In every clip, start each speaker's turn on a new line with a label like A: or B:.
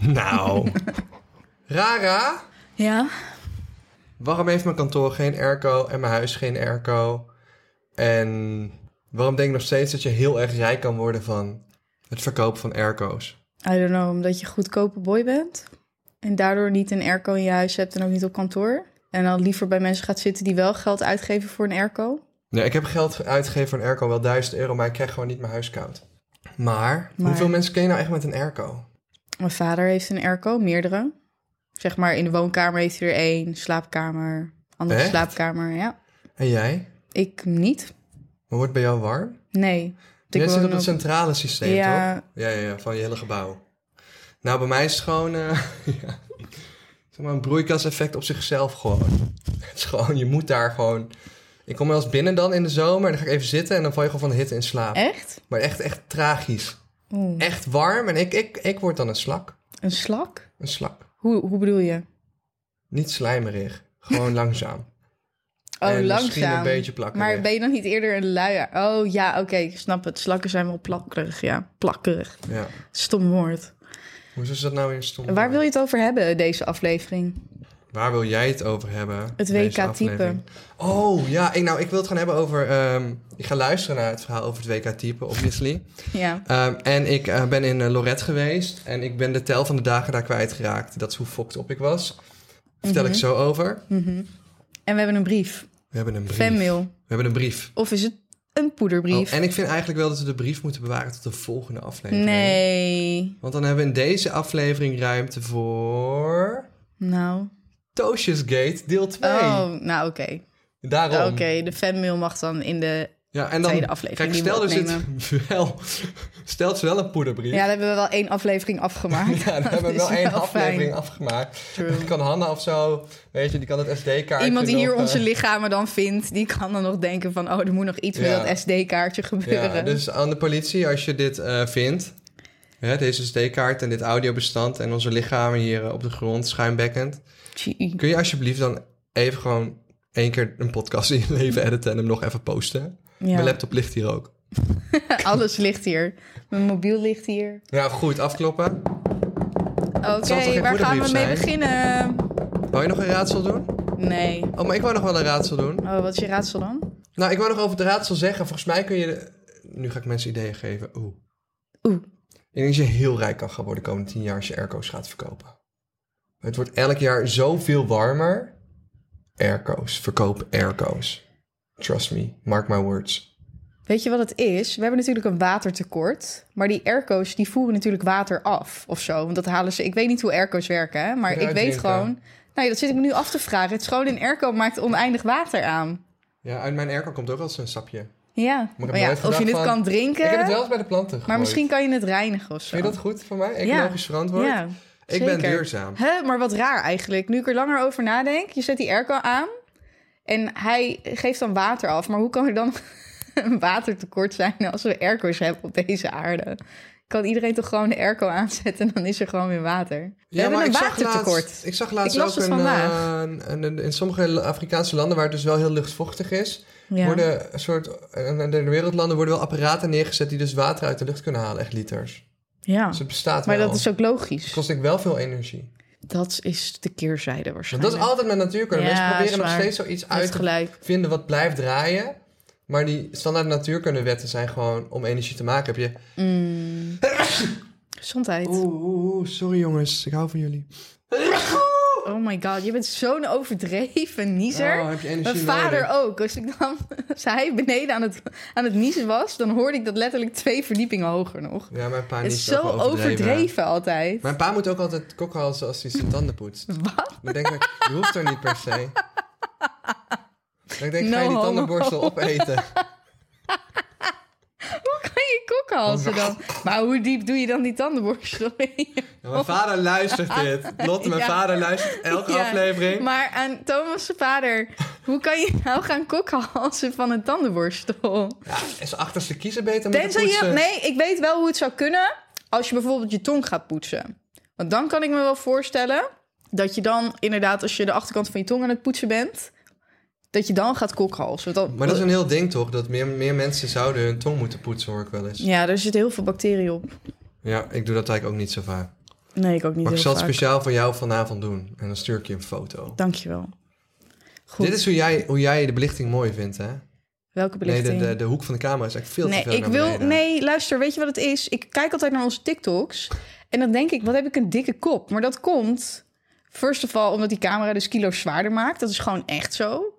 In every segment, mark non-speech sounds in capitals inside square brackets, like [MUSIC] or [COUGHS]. A: Nou. Rara,
B: Ja?
A: waarom heeft mijn kantoor geen airco en mijn huis geen airco? En waarom denk ik nog steeds dat je heel erg rijk kan worden van het verkopen van airco's?
B: I don't know, omdat je goedkope boy bent. En daardoor niet een airco in je huis hebt en ook niet op kantoor. En dan liever bij mensen gaat zitten die wel geld uitgeven voor een airco.
A: Nee, ik heb geld uitgegeven voor een airco, wel 1000 euro, maar ik krijg gewoon niet mijn huis koud. Maar,
B: Maar-
A: hoeveel mensen ken je nou echt met een airco?
B: Mijn vader heeft een airco, meerdere. Zeg maar in de woonkamer heeft hij er één, slaapkamer, andere
A: Echt?
B: slaapkamer. Ja,
A: En jij?
B: ik niet.
A: Maar wordt bij jou warm?
B: Nee. Want ik
A: jij zit
B: woon
A: op het centrale systeem,
B: Ja.
A: toch? Ja, ja, ja, van je hele gebouw. Nou, bij mij is het gewoon eh, [LAUGHS] ja, zeg maar een broeikaseffect op zichzelf gewoon. Het is gewoon, je moet daar gewoon... Ik kom wel eens binnen dan in de zomer en dan ga ik even zitten... en dan val je gewoon van de hitte in slaap.
B: Echt?
A: Maar echt, echt tragisch.
B: Oeh.
A: Echt warm en ik, ik, ik word dan een slak.
B: Een slak?
A: Een slak.
B: Hoe, hoe bedoel je?
A: Niet slijmerig. Gewoon [LAUGHS] langzaam.
B: Oh,
A: en
B: langzaam.
A: misschien een beetje plakken.
B: Maar ben je dan niet eerder een luier? Oh ja, oké, ik snap het. Slakken zijn wel plakkerig, ja. Plakkerig.
A: Ja.
B: Stom woord.
A: Hoe is dat nou weer stom?
B: Waar wil je het over hebben, deze aflevering?
A: Waar wil jij het over hebben?
B: Het
A: in
B: WK
A: deze aflevering? Oh ja, ik, nou, ik wil het gaan hebben over. ehm, ik ga luisteren naar het verhaal over het WK-type, obviously.
B: Ja.
A: Ehm, en ik eh, ben in eh, Lorette geweest en ik ben de tel van de dagen daar kwijtgeraakt. Dat is hoe fokt op ik was. Vertel
B: Mhm.
A: ik zo over.
B: En we hebben een brief.
A: We hebben een brief.
B: Fanmail.
A: We hebben een brief.
B: Of is het een poederbrief?
A: Oh, en ik vind eigenlijk wel dat we de brief moeten bewaren tot de volgende aflevering.
B: nee.
A: Want dan hebben we in deze aflevering ruimte voor.
B: Nou.
A: Toosjesgate, deel 2.
B: Oh, nou oké. Nou,
A: Daarom.
B: Oké, de fanmail mag dan in de...
A: Ja, en dan,
B: Tweede aflevering
A: Kijk,
B: die
A: stel
B: we
A: dus het [LAUGHS] wel, stel het is wel een poederbrief.
B: Ja, daar hebben we wel één aflevering afgemaakt.
A: [LAUGHS] Ja, dan hebben
B: [LAUGHS]
A: we
B: Dat
A: wel
B: is
A: één
B: wel
A: aflevering
B: fijn.
A: afgemaakt.
B: True.
A: Dan kan Hanna of zo, weet je, die kan het SD-kaartje
B: Iemand die hier
A: nog, eh,
B: onze lichamen dan vindt, die kan dan nog denken van... oh, er moet nog iets
A: Ja.
B: met dat SD-kaartje gebeuren.
A: Ja, dus aan de politie, als je dit eh, vindt, hè, deze SD-kaart en dit audiobestand en onze lichamen hier eh, op de grond, schuimbekkend,
B: Tjie.
A: kun je alsjeblieft dan even gewoon één keer een podcast in je leven editen en hem nog even posten? Mijn
B: Ja.
A: laptop ligt hier ook.
B: [LAUGHS] Alles ligt hier. Mijn mobiel ligt hier.
A: Ja, goed, afkloppen.
B: Oké,
A: toch geen
B: waar gaan we
A: poederbrief
B: mee
A: zijn?
B: beginnen?
A: Wou je nog een raadsel doen?
B: Nee.
A: Oh, maar ik wou nog wel een raadsel doen.
B: Oh, wat is je raadsel dan?
A: Nou, ik wou nog over het raadsel zeggen. Volgens mij kun je... de- Nu ga ik mensen ideeën geven. Oeh.
B: Oeh.
A: Ik denk dat je heel rijk kan gaan worden de komende tien jaar als je airco's gaat verkopen. Het wordt elk jaar zoveel warmer. Airco's. Verkoop airco's. Trust me. Mark my words.
B: Weet je wat het is? We hebben natuurlijk een watertekort. Maar die airco's die voeren natuurlijk water af of zo. Want dat halen ze. Ik weet niet hoe airco's werken, hè? maar
A: Eruit
B: ik weet
A: drinken.
B: gewoon. Nou, ja, dat zit ik me nu af te vragen. Het schoon in airco maakt oneindig water aan.
A: Ja, uit mijn airco komt ook wel eens een sapje.
B: Ja,
A: heb
B: maar ja, of je
A: nooit gedacht
B: het
A: van-
B: kan drinken,
A: Ik heb het wel eens bij de planten gegooid.
B: maar misschien kan je het reinigen of zo.
A: Vind je dat goed voor mij? Ecologisch verantwoord?
B: Ja,
A: ik ben
B: zeker.
A: duurzaam.
B: Hè, maar wat raar eigenlijk. Nu ik er langer over nadenk, je zet die airco aan en hij geeft dan water af. Maar hoe kan er dan [LAUGHS] een watertekort zijn als we airco's hebben op deze aarde? Kan iedereen toch gewoon de airco aanzetten en dan is er gewoon weer water? We hebben een watertekort.
A: Laatst, ik zag laatst
B: Ik las
A: ook
B: het
A: een,
B: vandaag.
A: eh, een- een- een- in sommige Afrikaanse landen waar het dus wel heel luchtvochtig is,
B: Ja.
A: worden een soort, en in de wereldlanden worden wel apparaten neergezet die dus water uit de lucht kunnen halen, echt liters.
B: Ja,
A: Dus het bestaat
B: maar
A: wel.
B: dat is ook logisch.
A: Het kost denk ik wel veel energie.
B: Dat is de keerzijde
A: Want
B: waarschijnlijk.
A: dat is altijd met natuurkunde.
B: Ja,
A: Mensen
B: is
A: proberen nog
B: waar.
A: steeds zoiets
B: Hij
A: uit
B: heeft
A: te
B: gelijk.
A: vinden wat blijft draaien. Maar die standaard natuurkundewetten zijn gewoon om energie te maken. Heb je...
B: Mm. Gezondheid.
A: Oeh, oeh, oeh, sorry jongens, ik hou van jullie.
B: Oh my god, je bent zo'n overdreven niezer.
A: Oh, heb je energie
B: Mijn vader
A: nodig?
B: ook. Als, ik dan, als hij beneden aan het, aan het niezen was, dan hoorde ik dat letterlijk twee verdiepingen hoger nog.
A: Ja, mijn pa
B: Het
A: niet
B: is zo overdreven altijd.
A: Mijn pa moet ook altijd kokhalzen als hij zijn tanden poetst.
B: [LAUGHS] Wat?
A: Dan denk ik, je hoeft er niet per se. Dan denk ik,
B: No
A: ga je die
B: homo. [LAUGHS]
A: tandenborstel opeten?
B: Hoe kan je kok tandenhalzen dan? Maar hoe diep doe je dan die tandenborstel
A: [LAUGHS]
B: in?
A: Ja, mijn vader luistert dit. Lotte, mijn
B: Ja.
A: vader luistert elke
B: Ja,
A: aflevering.
B: Maar aan Thomas' vader, hoe kan je nou gaan kokhalzen van een tandenborstel?
A: Ja, is achterste kiezen beter met
B: Tenzij je... Nee, ik weet wel hoe het zou kunnen als je bijvoorbeeld je tong gaat poetsen. Want dan kan ik me wel voorstellen dat je dan inderdaad... als je de achterkant van je tong aan het poetsen bent... dat je dan gaat kokhalzen. Want dan-
A: Maar dat is een heel ding toch? Dat meer, meer mensen zouden hun tong moeten poetsen, hoor ik wel eens. Ja,
B: Ja, er zit heel veel bacteriën op.
A: ik doe dat eigenlijk ook niet zo vaak.
B: Nee, ik ook niet
A: Maar
B: heel
A: ik zal het
B: vaak.
A: speciaal voor jou vanavond doen. En dan stuur ik je een foto.
B: Dankjewel. Goed.
A: Dit is hoe jij, hoe jij de belichting mooi vindt, hè?
B: Welke belichting?
A: Nee, eh, de, de, de hoek van de camera is eigenlijk veel
B: nee,
A: te veel
B: ik
A: naar
B: wil.
A: beneden.
B: Nee, luister, weet je wat het is? Ik kijk altijd naar onze TikToks. En dan denk ik, wat heb ik een dikke kop? Maar dat komt, first of all, omdat die camera dus kilo's zwaarder maakt. Dat is gewoon echt zo.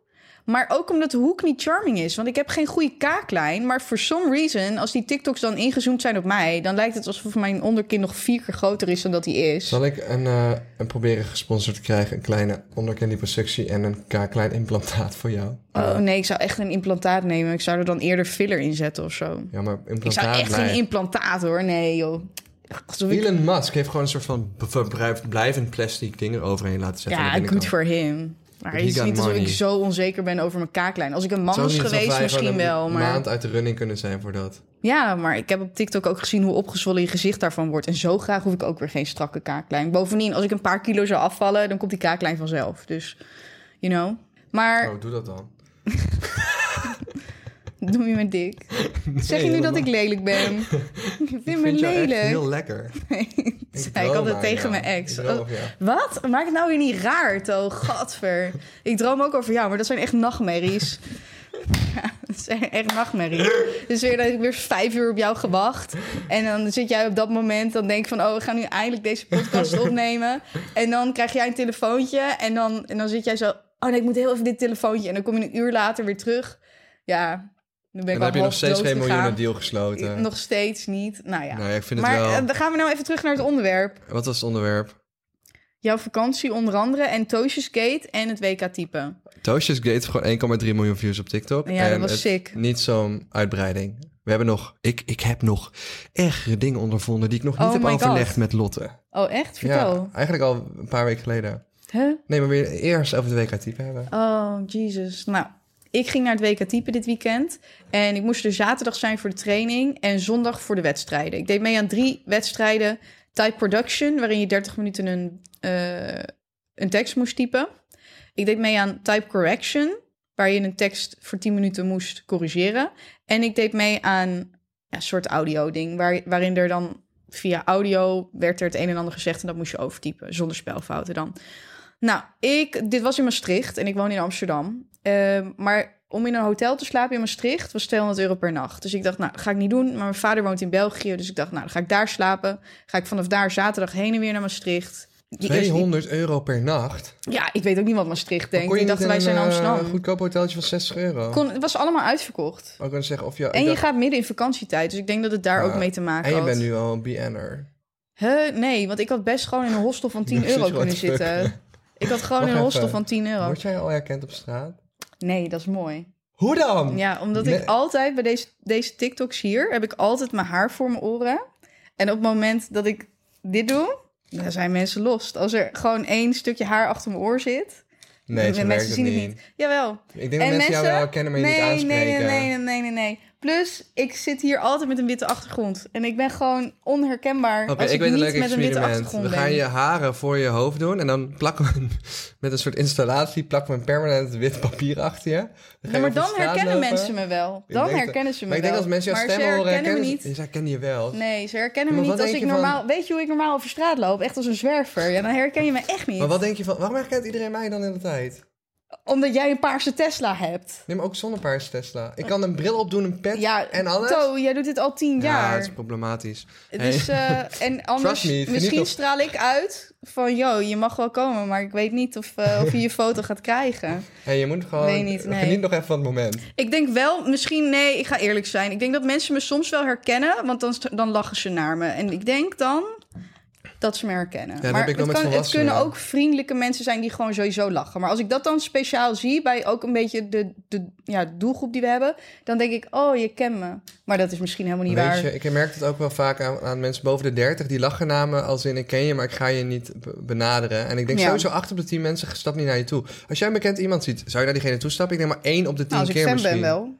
B: Maar ook omdat de hoek niet charming is. Want ik heb geen goede kaaklijn. Maar for some reason, als die TikToks dan ingezoomd zijn op mij... dan lijkt het alsof mijn onderkin nog vier keer groter is dan dat hij is.
A: Zal ik een, eh, een proberen gesponsord te krijgen? Een kleine onderkindiperceptie en een ka- klein implantaat voor jou.
B: Oh nee, ik zou echt een implantaat nemen. Ik zou er dan eerder filler in zetten of zo.
A: Ja, maar implantaat
B: Ik zou echt geen
A: blijft.
B: implantaat hoor. Nee joh. Alsof ik...
A: Elon Musk heeft gewoon een soort van b- verbruik- blijvend plastic ding eroverheen laten zetten. aan
B: Ja,
A: de
B: good
A: binnenkant.
B: for him. Maar
A: He
B: het is
A: got
B: niet alsof
A: money.
B: ik zo onzeker ben over mijn kaaklijn. Als ik een man
A: Het is
B: was
A: ook niet alsof
B: geweest,
A: wij
B: misschien
A: gewoon
B: wel.
A: Een
B: Maar...
A: maand uit de running kunnen zijn voor dat.
B: Ja, maar ik heb op TikTok ook gezien hoe opgezwollen je gezicht daarvan wordt. En zo graag hoef ik ook weer geen strakke kaaklijn. Bovendien, als ik een paar kilo zou afvallen, dan komt die kaaklijn vanzelf. Dus, you know. Maar
A: Oh, doe dat dan.
B: [LAUGHS] noem je me
A: [LAUGHS]
B: dik? zeg je nu dat ik lelijk ben? ik vind me
A: vind jou echt
B: lelijk.
A: heel lekker.
B: ik zei ik
A: droom
B: altijd
A: aan
B: tegen
A: jou.
B: mijn ex. Oh.
A: Ik droom, ja.
B: Wat? Maak het nou weer niet raar, To. Gadver. Ik droom ook over jou, maar dat zijn echt nachtmerries. [LAUGHS] Ja, dat zijn echt nachtmerries. Dus weer dat ik weer vijf uur op jou gewacht. En dan zit jij op dat moment, dan denk ik van... oh, we gaan nu eindelijk deze
A: [LAUGHS]
B: podcast opnemen. En dan krijg jij een telefoontje. En dan, en dan zit jij zo... oh nee, ik moet heel even dit telefoontje. En dan kom je een uur later weer terug. Ja, dan ben ik
A: En
B: al
A: dan heb je nog
B: half
A: steeds
B: dood
A: geen miljoenen
B: gegaan.
A: deal gesloten.
B: Nog steeds niet. Nou ja.
A: Nou ja, ik vind het
B: maar
A: wel.
B: eh, dan gaan we nou even terug naar het onderwerp.
A: Wat was het onderwerp?
B: Jouw vakantie onder andere en Toosjesgate en het WK-type.
A: Toastjes Gate heeft gewoon 1,3 miljoen views op TikTok.
B: Ja,
A: en
B: dat was
A: het-
B: sick.
A: Niet zo'n uitbreiding. We hebben nog, ik, ik heb nog ergere dingen ondervonden die ik nog niet
B: Oh
A: heb
B: my God.
A: overlegd met Lotte.
B: Oh, echt? Vertel.
A: Ja, eigenlijk al een paar weken geleden.
B: Huh?
A: Nee, maar weer eerst over de WK-type hebben.
B: Oh, Jesus. Nou, ik ging naar het WK-type dit weekend. En ik moest er zaterdag zijn voor de training en zondag voor de wedstrijden. Ik deed mee aan drie wedstrijden. Type Production, waarin je 30 minuten een, eh, een tekst moest typen. Ik deed mee aan Type Correction, waar je een tekst voor 10 minuten moest corrigeren. En ik deed mee aan ja, een soort audio-ding, waar, waarin er dan via audio werd er het een en ander gezegd en dat moest je overtypen, zonder spelfouten dan. Nou, ik, dit was in Maastricht en ik woon in Amsterdam. Ehm, maar om in een hotel te slapen in Maastricht was 200 euro per nacht. Dus ik dacht, nou, dat ga ik niet doen. Maar mijn vader woont in België, dus ik dacht, nou, dan ga ik daar slapen. Ga ik vanaf daar zaterdag heen en weer naar Maastricht. Die eerste-
A: 200 euro per nacht.
B: ja, ik weet ook niet wat Maastricht denkt.
A: je
B: Ik
A: niet
B: dacht,
A: in
B: wij
A: een,
B: zijn in
A: eh,
B: Amsterdam.
A: goedkoop hoteltje van 60 euro.
B: Kon, het was allemaal uitverkocht.
A: Ook kunnen zeggen of je.
B: En je Oh, gaat midden in vakantietijd, dus ik denk dat het daar
A: Ja,
B: ook mee te maken
A: en je
B: had.
A: bent nu al een BN'er.
B: Huh? Nee, want ik had best gewoon in een hostel
A: [LAUGHS]
B: van 10
A: Precies
B: euro
A: wat
B: kunnen
A: ik-
B: zitten. Ik had gewoon
A: Wacht
B: in een hostel
A: even.
B: van 10 euro.
A: Word jij al herkend op straat?
B: Nee, dat is mooi.
A: Hoe dan?
B: Ja, omdat
A: Nee.
B: ik altijd bij deze, deze TikToks hier heb ik altijd mijn haar voor mijn oren. En op het moment dat ik dit doe, dan zijn mensen lost. Als er gewoon één stukje haar achter mijn oor zit,
A: Nee,
B: de
A: ze
B: mensen
A: merkt het
B: zien
A: niet.
B: het niet. Jawel.
A: Ik denk dat mensen, jou wel herkennen, maar je
B: nee,
A: niet aanspreken.
B: Nee, nee, nee, nee, nee, nee. Plus, ik zit hier altijd met een witte achtergrond. En ik ben gewoon onherkenbaar
A: Oké,
B: als
A: ik
B: ik,
A: weet een leuk
B: niet met een witte
A: experiment.
B: achtergrond
A: We
B: ben.
A: gaan je haren voor je hoofd doen en dan plakken we een- [LAUGHS] met een soort installatie plakken we een permanent wit papier achter je. Dan ga je
B: Ja, maar
A: over
B: dan
A: straat
B: herkennen
A: lopen.
B: mensen me wel.
A: Ik
B: Dan
A: denk dat-
B: herkennen ze me
A: Maar ik denk
B: wel.
A: als mensen jouw
B: Maar
A: stem
B: ze
A: horen,
B: herkennen me
A: herkennen
B: niet.
A: ze- Ze herkennen je wel.
B: Nee, ze herkennen
A: Ja,
B: me
A: maar
B: niet
A: wat
B: als ik
A: denk je
B: normaal...
A: van-
B: Weet je hoe ik normaal over straat loop? Echt als een zwerver. Ja, dan herken je me echt niet.
A: Maar wat denk je van, waarom herkent iedereen mij dan in de tijd?
B: Omdat jij een paarse Tesla hebt.
A: Neem ook zonder paars Tesla. Ik kan een bril opdoen, een pet
B: Ja,
A: en alles.
B: To, jij doet dit al tien
A: Ja,
B: jaar.
A: het is problematisch.
B: Dus, eh, en anders,
A: Trust me, geniet
B: misschien
A: op-
B: straal ik uit van... yo, je mag wel komen, maar ik weet niet of, eh, of je je foto gaat krijgen.
A: Hey, je moet gewoon
B: Weet niet, nee.
A: geniet nog even van het moment.
B: Ik denk wel, misschien, nee, ik ga eerlijk zijn. Ik denk dat mensen me soms wel herkennen, want dan, dan lachen ze naar me. En ik denk dan, dat ze me herkennen.
A: dat
B: maar
A: heb ik wel
B: het,
A: met
B: kan- het
A: volwassenen.
B: kunnen ook vriendelijke mensen zijn die gewoon sowieso lachen. Maar als ik dat dan speciaal zie bij ook een beetje de, de ja, doelgroep die we hebben, dan denk ik, oh, je kent me. Maar dat is misschien helemaal niet waar. Nou,
A: Weet je, ik merk het ook wel vaak aan, aan mensen boven de 30. Die lachen namen als in ik ken je, maar ik ga je niet be- benaderen. En ik denk
B: Ja.
A: sowieso acht op de tien mensen stapt niet naar je toe. Als jij een bekend iemand ziet, zou je naar diegene toe stappen? Ik denk maar één op de tien
B: Nou, als ik
A: keer
B: fan
A: misschien.
B: ben wel.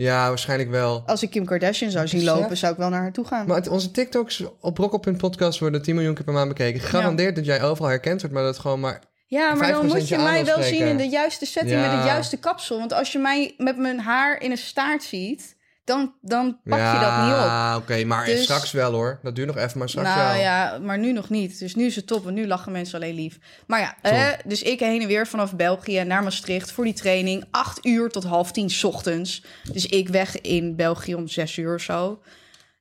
A: Ja, waarschijnlijk wel.
B: Als ik Kim Kardashian zou zien
A: Snap.
B: lopen, zou ik wel naar haar toe gaan.
A: Maar het- onze TikToks op brokkel.podcast worden 10 miljoen keer per maand bekeken. Garandeerd dat jij overal herkend wordt, maar dat gewoon maar...
B: Ja, maar dan
A: 5%
B: moet je
A: je
B: mij
A: aandacht
B: wel
A: spreken.
B: zien in de juiste setting
A: Ja.
B: met het juiste kapsel. Want als je mij met mijn haar in een staart ziet, dan, dan pak je dat niet op.
A: Ja, oké, maar
B: Dus-
A: straks wel hoor. Dat duurt nog even, maar straks
B: nou
A: wel.
B: ja, maar nu nog niet. Dus nu is het top, want nu lachen mensen alleen lief. Maar ja, eh, dus ik heen en weer vanaf België naar Maastricht voor die training. Acht uur tot half tien 's ochtends. Dus ik weg in België om zes uur of zo.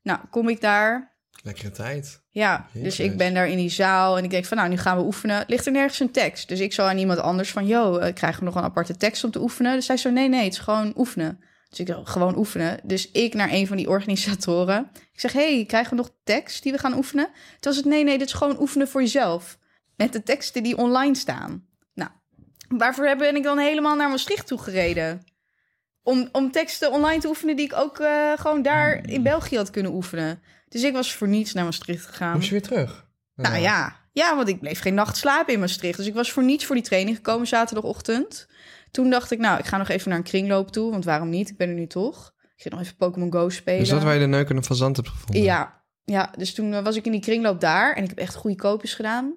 B: Nou, kom ik daar.
A: Lekkere tijd.
B: Ja, dus
A: Jeetje.
B: ik ben daar in die zaal en ik denk van nou, nu gaan we oefenen. Ligt er nergens een tekst? Dus ik zou aan iemand anders van, yo, eh, krijgen we nog een aparte tekst om te oefenen? Dus zij zo, nee, nee, het is gewoon oefenen. Dus ik dacht, gewoon oefenen. Dus ik naar een van die organisatoren. Ik zeg, hey, krijgen we nog tekst die we gaan oefenen? Toen was het, nee, nee, dit is gewoon oefenen voor jezelf. Met de teksten die online staan. Nou, waarvoor ben ik dan helemaal naar Maastricht toe gereden? Om, om teksten online te oefenen die ik ook eh, gewoon daar in België had kunnen oefenen. Dus ik was voor niets naar Maastricht gegaan.
A: Moest je weer terug?
B: Nou ja. ja, want ik bleef geen nacht slapen in Maastricht. Dus ik was voor niets voor die training gekomen zaterdagochtend. Toen dacht ik, nou, ik ga nog even naar een kringloop toe. Want waarom niet? Ik ben er nu toch. Ik ging nog even Pokémon Go spelen.
A: Dus dat waar je de neuken van zand hebt gevonden?
B: Ja, ja, dus toen eh, was ik in die kringloop daar en ik heb echt goede koopjes gedaan.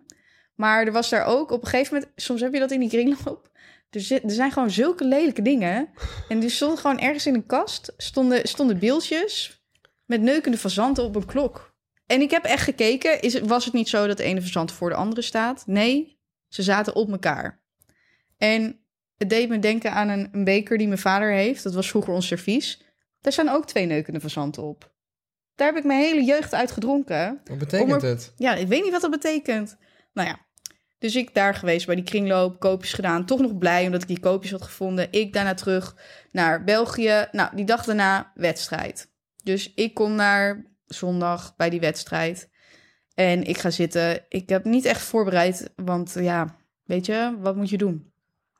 B: Maar er was daar ook op een gegeven moment, soms heb je dat in die kringloop. Er, zit, er zijn gewoon zulke lelijke dingen. En dus stond gewoon ergens in een kast stonden, stonden beeldjes met neukende fazanten op een klok. En ik heb echt gekeken, is, het- was het niet zo dat de ene fazant voor de andere staat? Nee, ze zaten op elkaar. En het deed me denken aan een, een beker die mijn vader heeft. Dat was vroeger ons servies. Daar staan ook twee neukende fazanten op. Daar heb ik mijn hele jeugd uit gedronken.
A: Wat betekent
B: Om er-
A: het?
B: Ja, ik weet niet wat dat betekent. Nou ja, dus ik daar geweest bij die kringloop, koopjes gedaan. Toch nog blij omdat ik die koopjes had gevonden. Ik daarna terug naar België. Nou, die dag daarna wedstrijd. Dus ik kom naar zondag bij die wedstrijd. En ik ga zitten. Ik heb niet echt voorbereid, want eh, ja, weet je, wat moet je doen?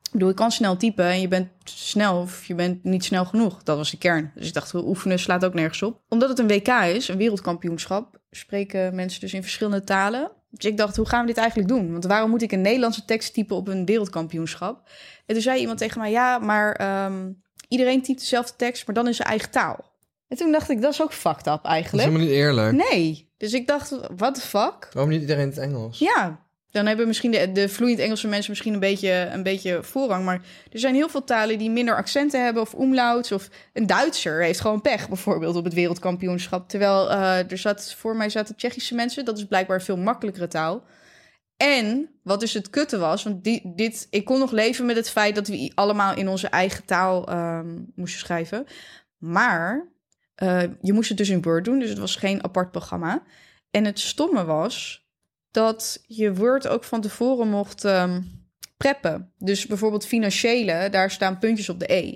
B: Ik bedoel, ik kan snel typen en je bent snel of je bent niet snel genoeg. Dat was de kern. Dus ik dacht, oefenen slaat ook nergens op. Omdat het een WK is, een wereldkampioenschap, spreken mensen dus in verschillende talen. Dus ik dacht, hoe gaan we dit eigenlijk doen? Want waarom moet ik een Nederlandse tekst typen op een wereldkampioenschap? En toen zei iemand tegen mij, ja, maar ehm, iedereen typt dezelfde tekst, maar dan in zijn eigen taal. En toen dacht ik, dat is ook fucked up
A: Dat is
B: eigenlijk.
A: helemaal niet eerlijk.
B: Nee. Dus ik dacht, what the fuck?
A: Waarom niet iedereen het Engels?
B: Ja, dan hebben misschien de, de vloeiend Engelse mensen misschien een beetje, een beetje voorrang. Maar er zijn heel veel talen die minder accenten hebben of omlauts. Of een Duitser heeft gewoon pech, bijvoorbeeld op het wereldkampioenschap. Terwijl eh, er zat, voor mij zaten Tsjechische mensen. Dat is blijkbaar een veel makkelijkere taal. En wat dus het kutte was, want die, dit, ik kon nog leven met het feit dat we i- allemaal in onze eigen taal ehm, moesten schrijven. Maar eh, je moest het dus in Word doen, dus het was geen apart programma. En het stomme was dat je Word ook van tevoren mocht ehm, preppen. Dus bijvoorbeeld financiële, daar staan puntjes op de E.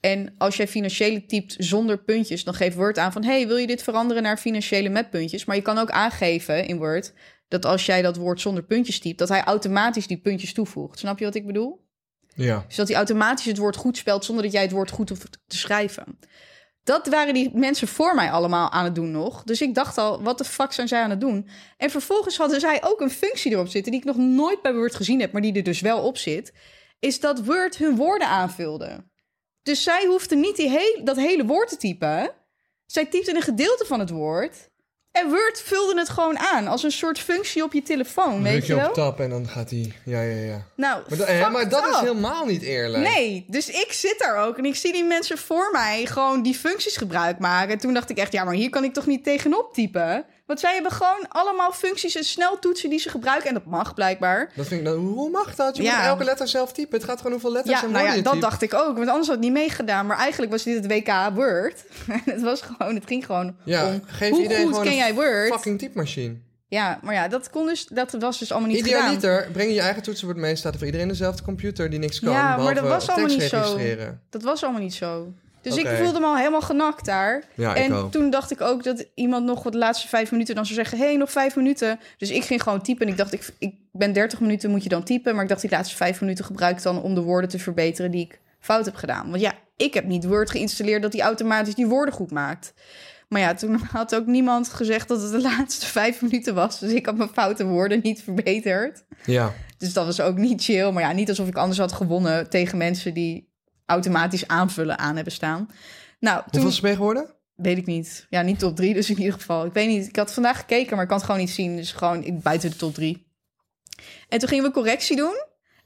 B: En als jij financiële typt zonder puntjes, dan geeft Word aan van... hey, wil je dit veranderen naar financiële met puntjes? Maar je kan ook aangeven in Word dat als jij dat woord zonder puntjes typt... dat hij automatisch die puntjes toevoegt. Snap je wat ik bedoel?
A: Ja.
B: Zodat hij automatisch het woord goed spelt zonder dat jij het woord goed hoeft te schrijven. Dat waren die mensen voor mij allemaal aan het doen nog. Dus ik dacht al, wat de fuck zijn zij aan het doen? En vervolgens hadden zij ook een functie erop zitten die ik nog nooit bij Word gezien heb, maar die er dus wel op zit. Is dat Word hun woorden aanvulde. Dus zij hoefden niet die heel, dat hele woord te typen. Zij typten een gedeelte van het woord. En Word vulde het gewoon aan als een soort functie op je telefoon,
A: Dan
B: weet
A: druk
B: je
A: je op
B: wel?
A: tap en dan gaat hij. Ja, ja, ja.
B: Nou,
A: Maar, dat- hè, maar
B: fucked
A: dat is
B: up.
A: helemaal niet eerlijk.
B: Nee, dus ik zit daar ook en ik zie die mensen voor mij gewoon die functies gebruik maken. En toen dacht ik echt, ja, maar hier kan ik toch niet tegenop typen? Want zij hebben gewoon allemaal functies en sneltoetsen die ze gebruiken. En dat mag blijkbaar.
A: Dat vind ik, nou, hoe mag dat? Je
B: Ja.
A: moet elke letter zelf typen. Het gaat gewoon hoeveel letters
B: ja,
A: en
B: nou
A: woorden
B: ja,
A: je
B: dat
A: typt.
B: dacht ik ook, want anders had het niet meegedaan. Maar eigenlijk was dit het WK Word. En [LAUGHS] het, was gewoon, het ging gewoon
A: Ja,
B: om,
A: geef
B: hoe
A: iedereen
B: goed
A: gewoon
B: ken jij
A: een
B: Word?
A: Fucking typemachine.
B: Ja, maar ja, dat, kon dus, dat was dus allemaal niet gedaan.
A: Idealiter, breng je je eigen toetsenbord mee. Staat er voor iedereen dezelfde computer die niks kan.
B: Ja, maar dat
A: behalve
B: was allemaal
A: tekst
B: niet zo.
A: registreren.
B: Dat was allemaal niet zo. Dus
A: Oké.
B: ik voelde me al helemaal genakt daar.
A: Ja, ik
B: en
A: ook.
B: toen dacht ik ook dat iemand nog de laatste vijf minuten dan zou zeggen... hé, hey, nog vijf minuten. Dus ik ging gewoon typen. En ik dacht, ik, ik ben 30 minuten, moet je dan typen. Maar ik dacht, die laatste vijf minuten gebruik ik dan... om de woorden te verbeteren die ik fout heb gedaan. Want ja, ik heb niet Word geïnstalleerd... dat die automatisch die woorden goed maakt. Maar ja, toen had ook niemand gezegd dat het de laatste vijf minuten was. Dus ik had mijn foute woorden niet verbeterd.
A: Ja,
B: Dus dat was ook niet chill. Maar ja, niet alsof ik anders had gewonnen tegen mensen die automatisch aanvullen aan hebben staan. Nou, toen
A: hoeveel is het mee geworden?
B: weet ik niet. Ja, niet top 3 dus in ieder geval. Ik weet niet. Ik had vandaag gekeken, maar ik kan het gewoon niet zien. Dus gewoon ik- buiten de top 3. En toen gingen we correctie doen.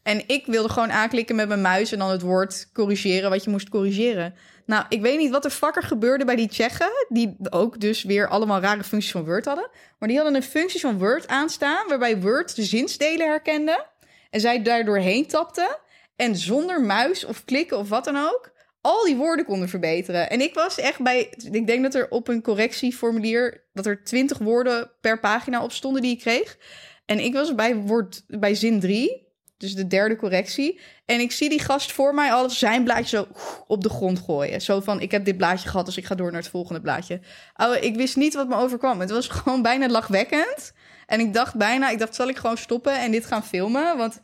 B: En ik wilde gewoon aanklikken met mijn muis en dan het woord corrigeren wat je moest corrigeren. Nou, ik weet niet wat er vakker gebeurde bij die Tsjechen, die ook dus weer allemaal rare functies van Word hadden. Maar die hadden een functie van Word aanstaan, waarbij Word de zinsdelen herkende en zij daar doorheen tapte. En zonder muis of klikken of wat dan ook, al die woorden konden verbeteren. En ik was echt bij, ik denk dat er op een correctieformulier, dat er 20 woorden per pagina op stonden die ik kreeg. En ik was bij, woord, bij zin 3, dus de derde correctie. En ik zie die gast voor mij al zijn blaadje zo op de grond gooien. Zo van, ik heb dit blaadje gehad, dus ik ga door naar het volgende blaadje. Ouwe, ik wist niet wat me overkwam. Het was [LAUGHS] gewoon bijna lachwekkend. En ik dacht bijna, ik dacht, zal ik gewoon stoppen en dit gaan filmen? Want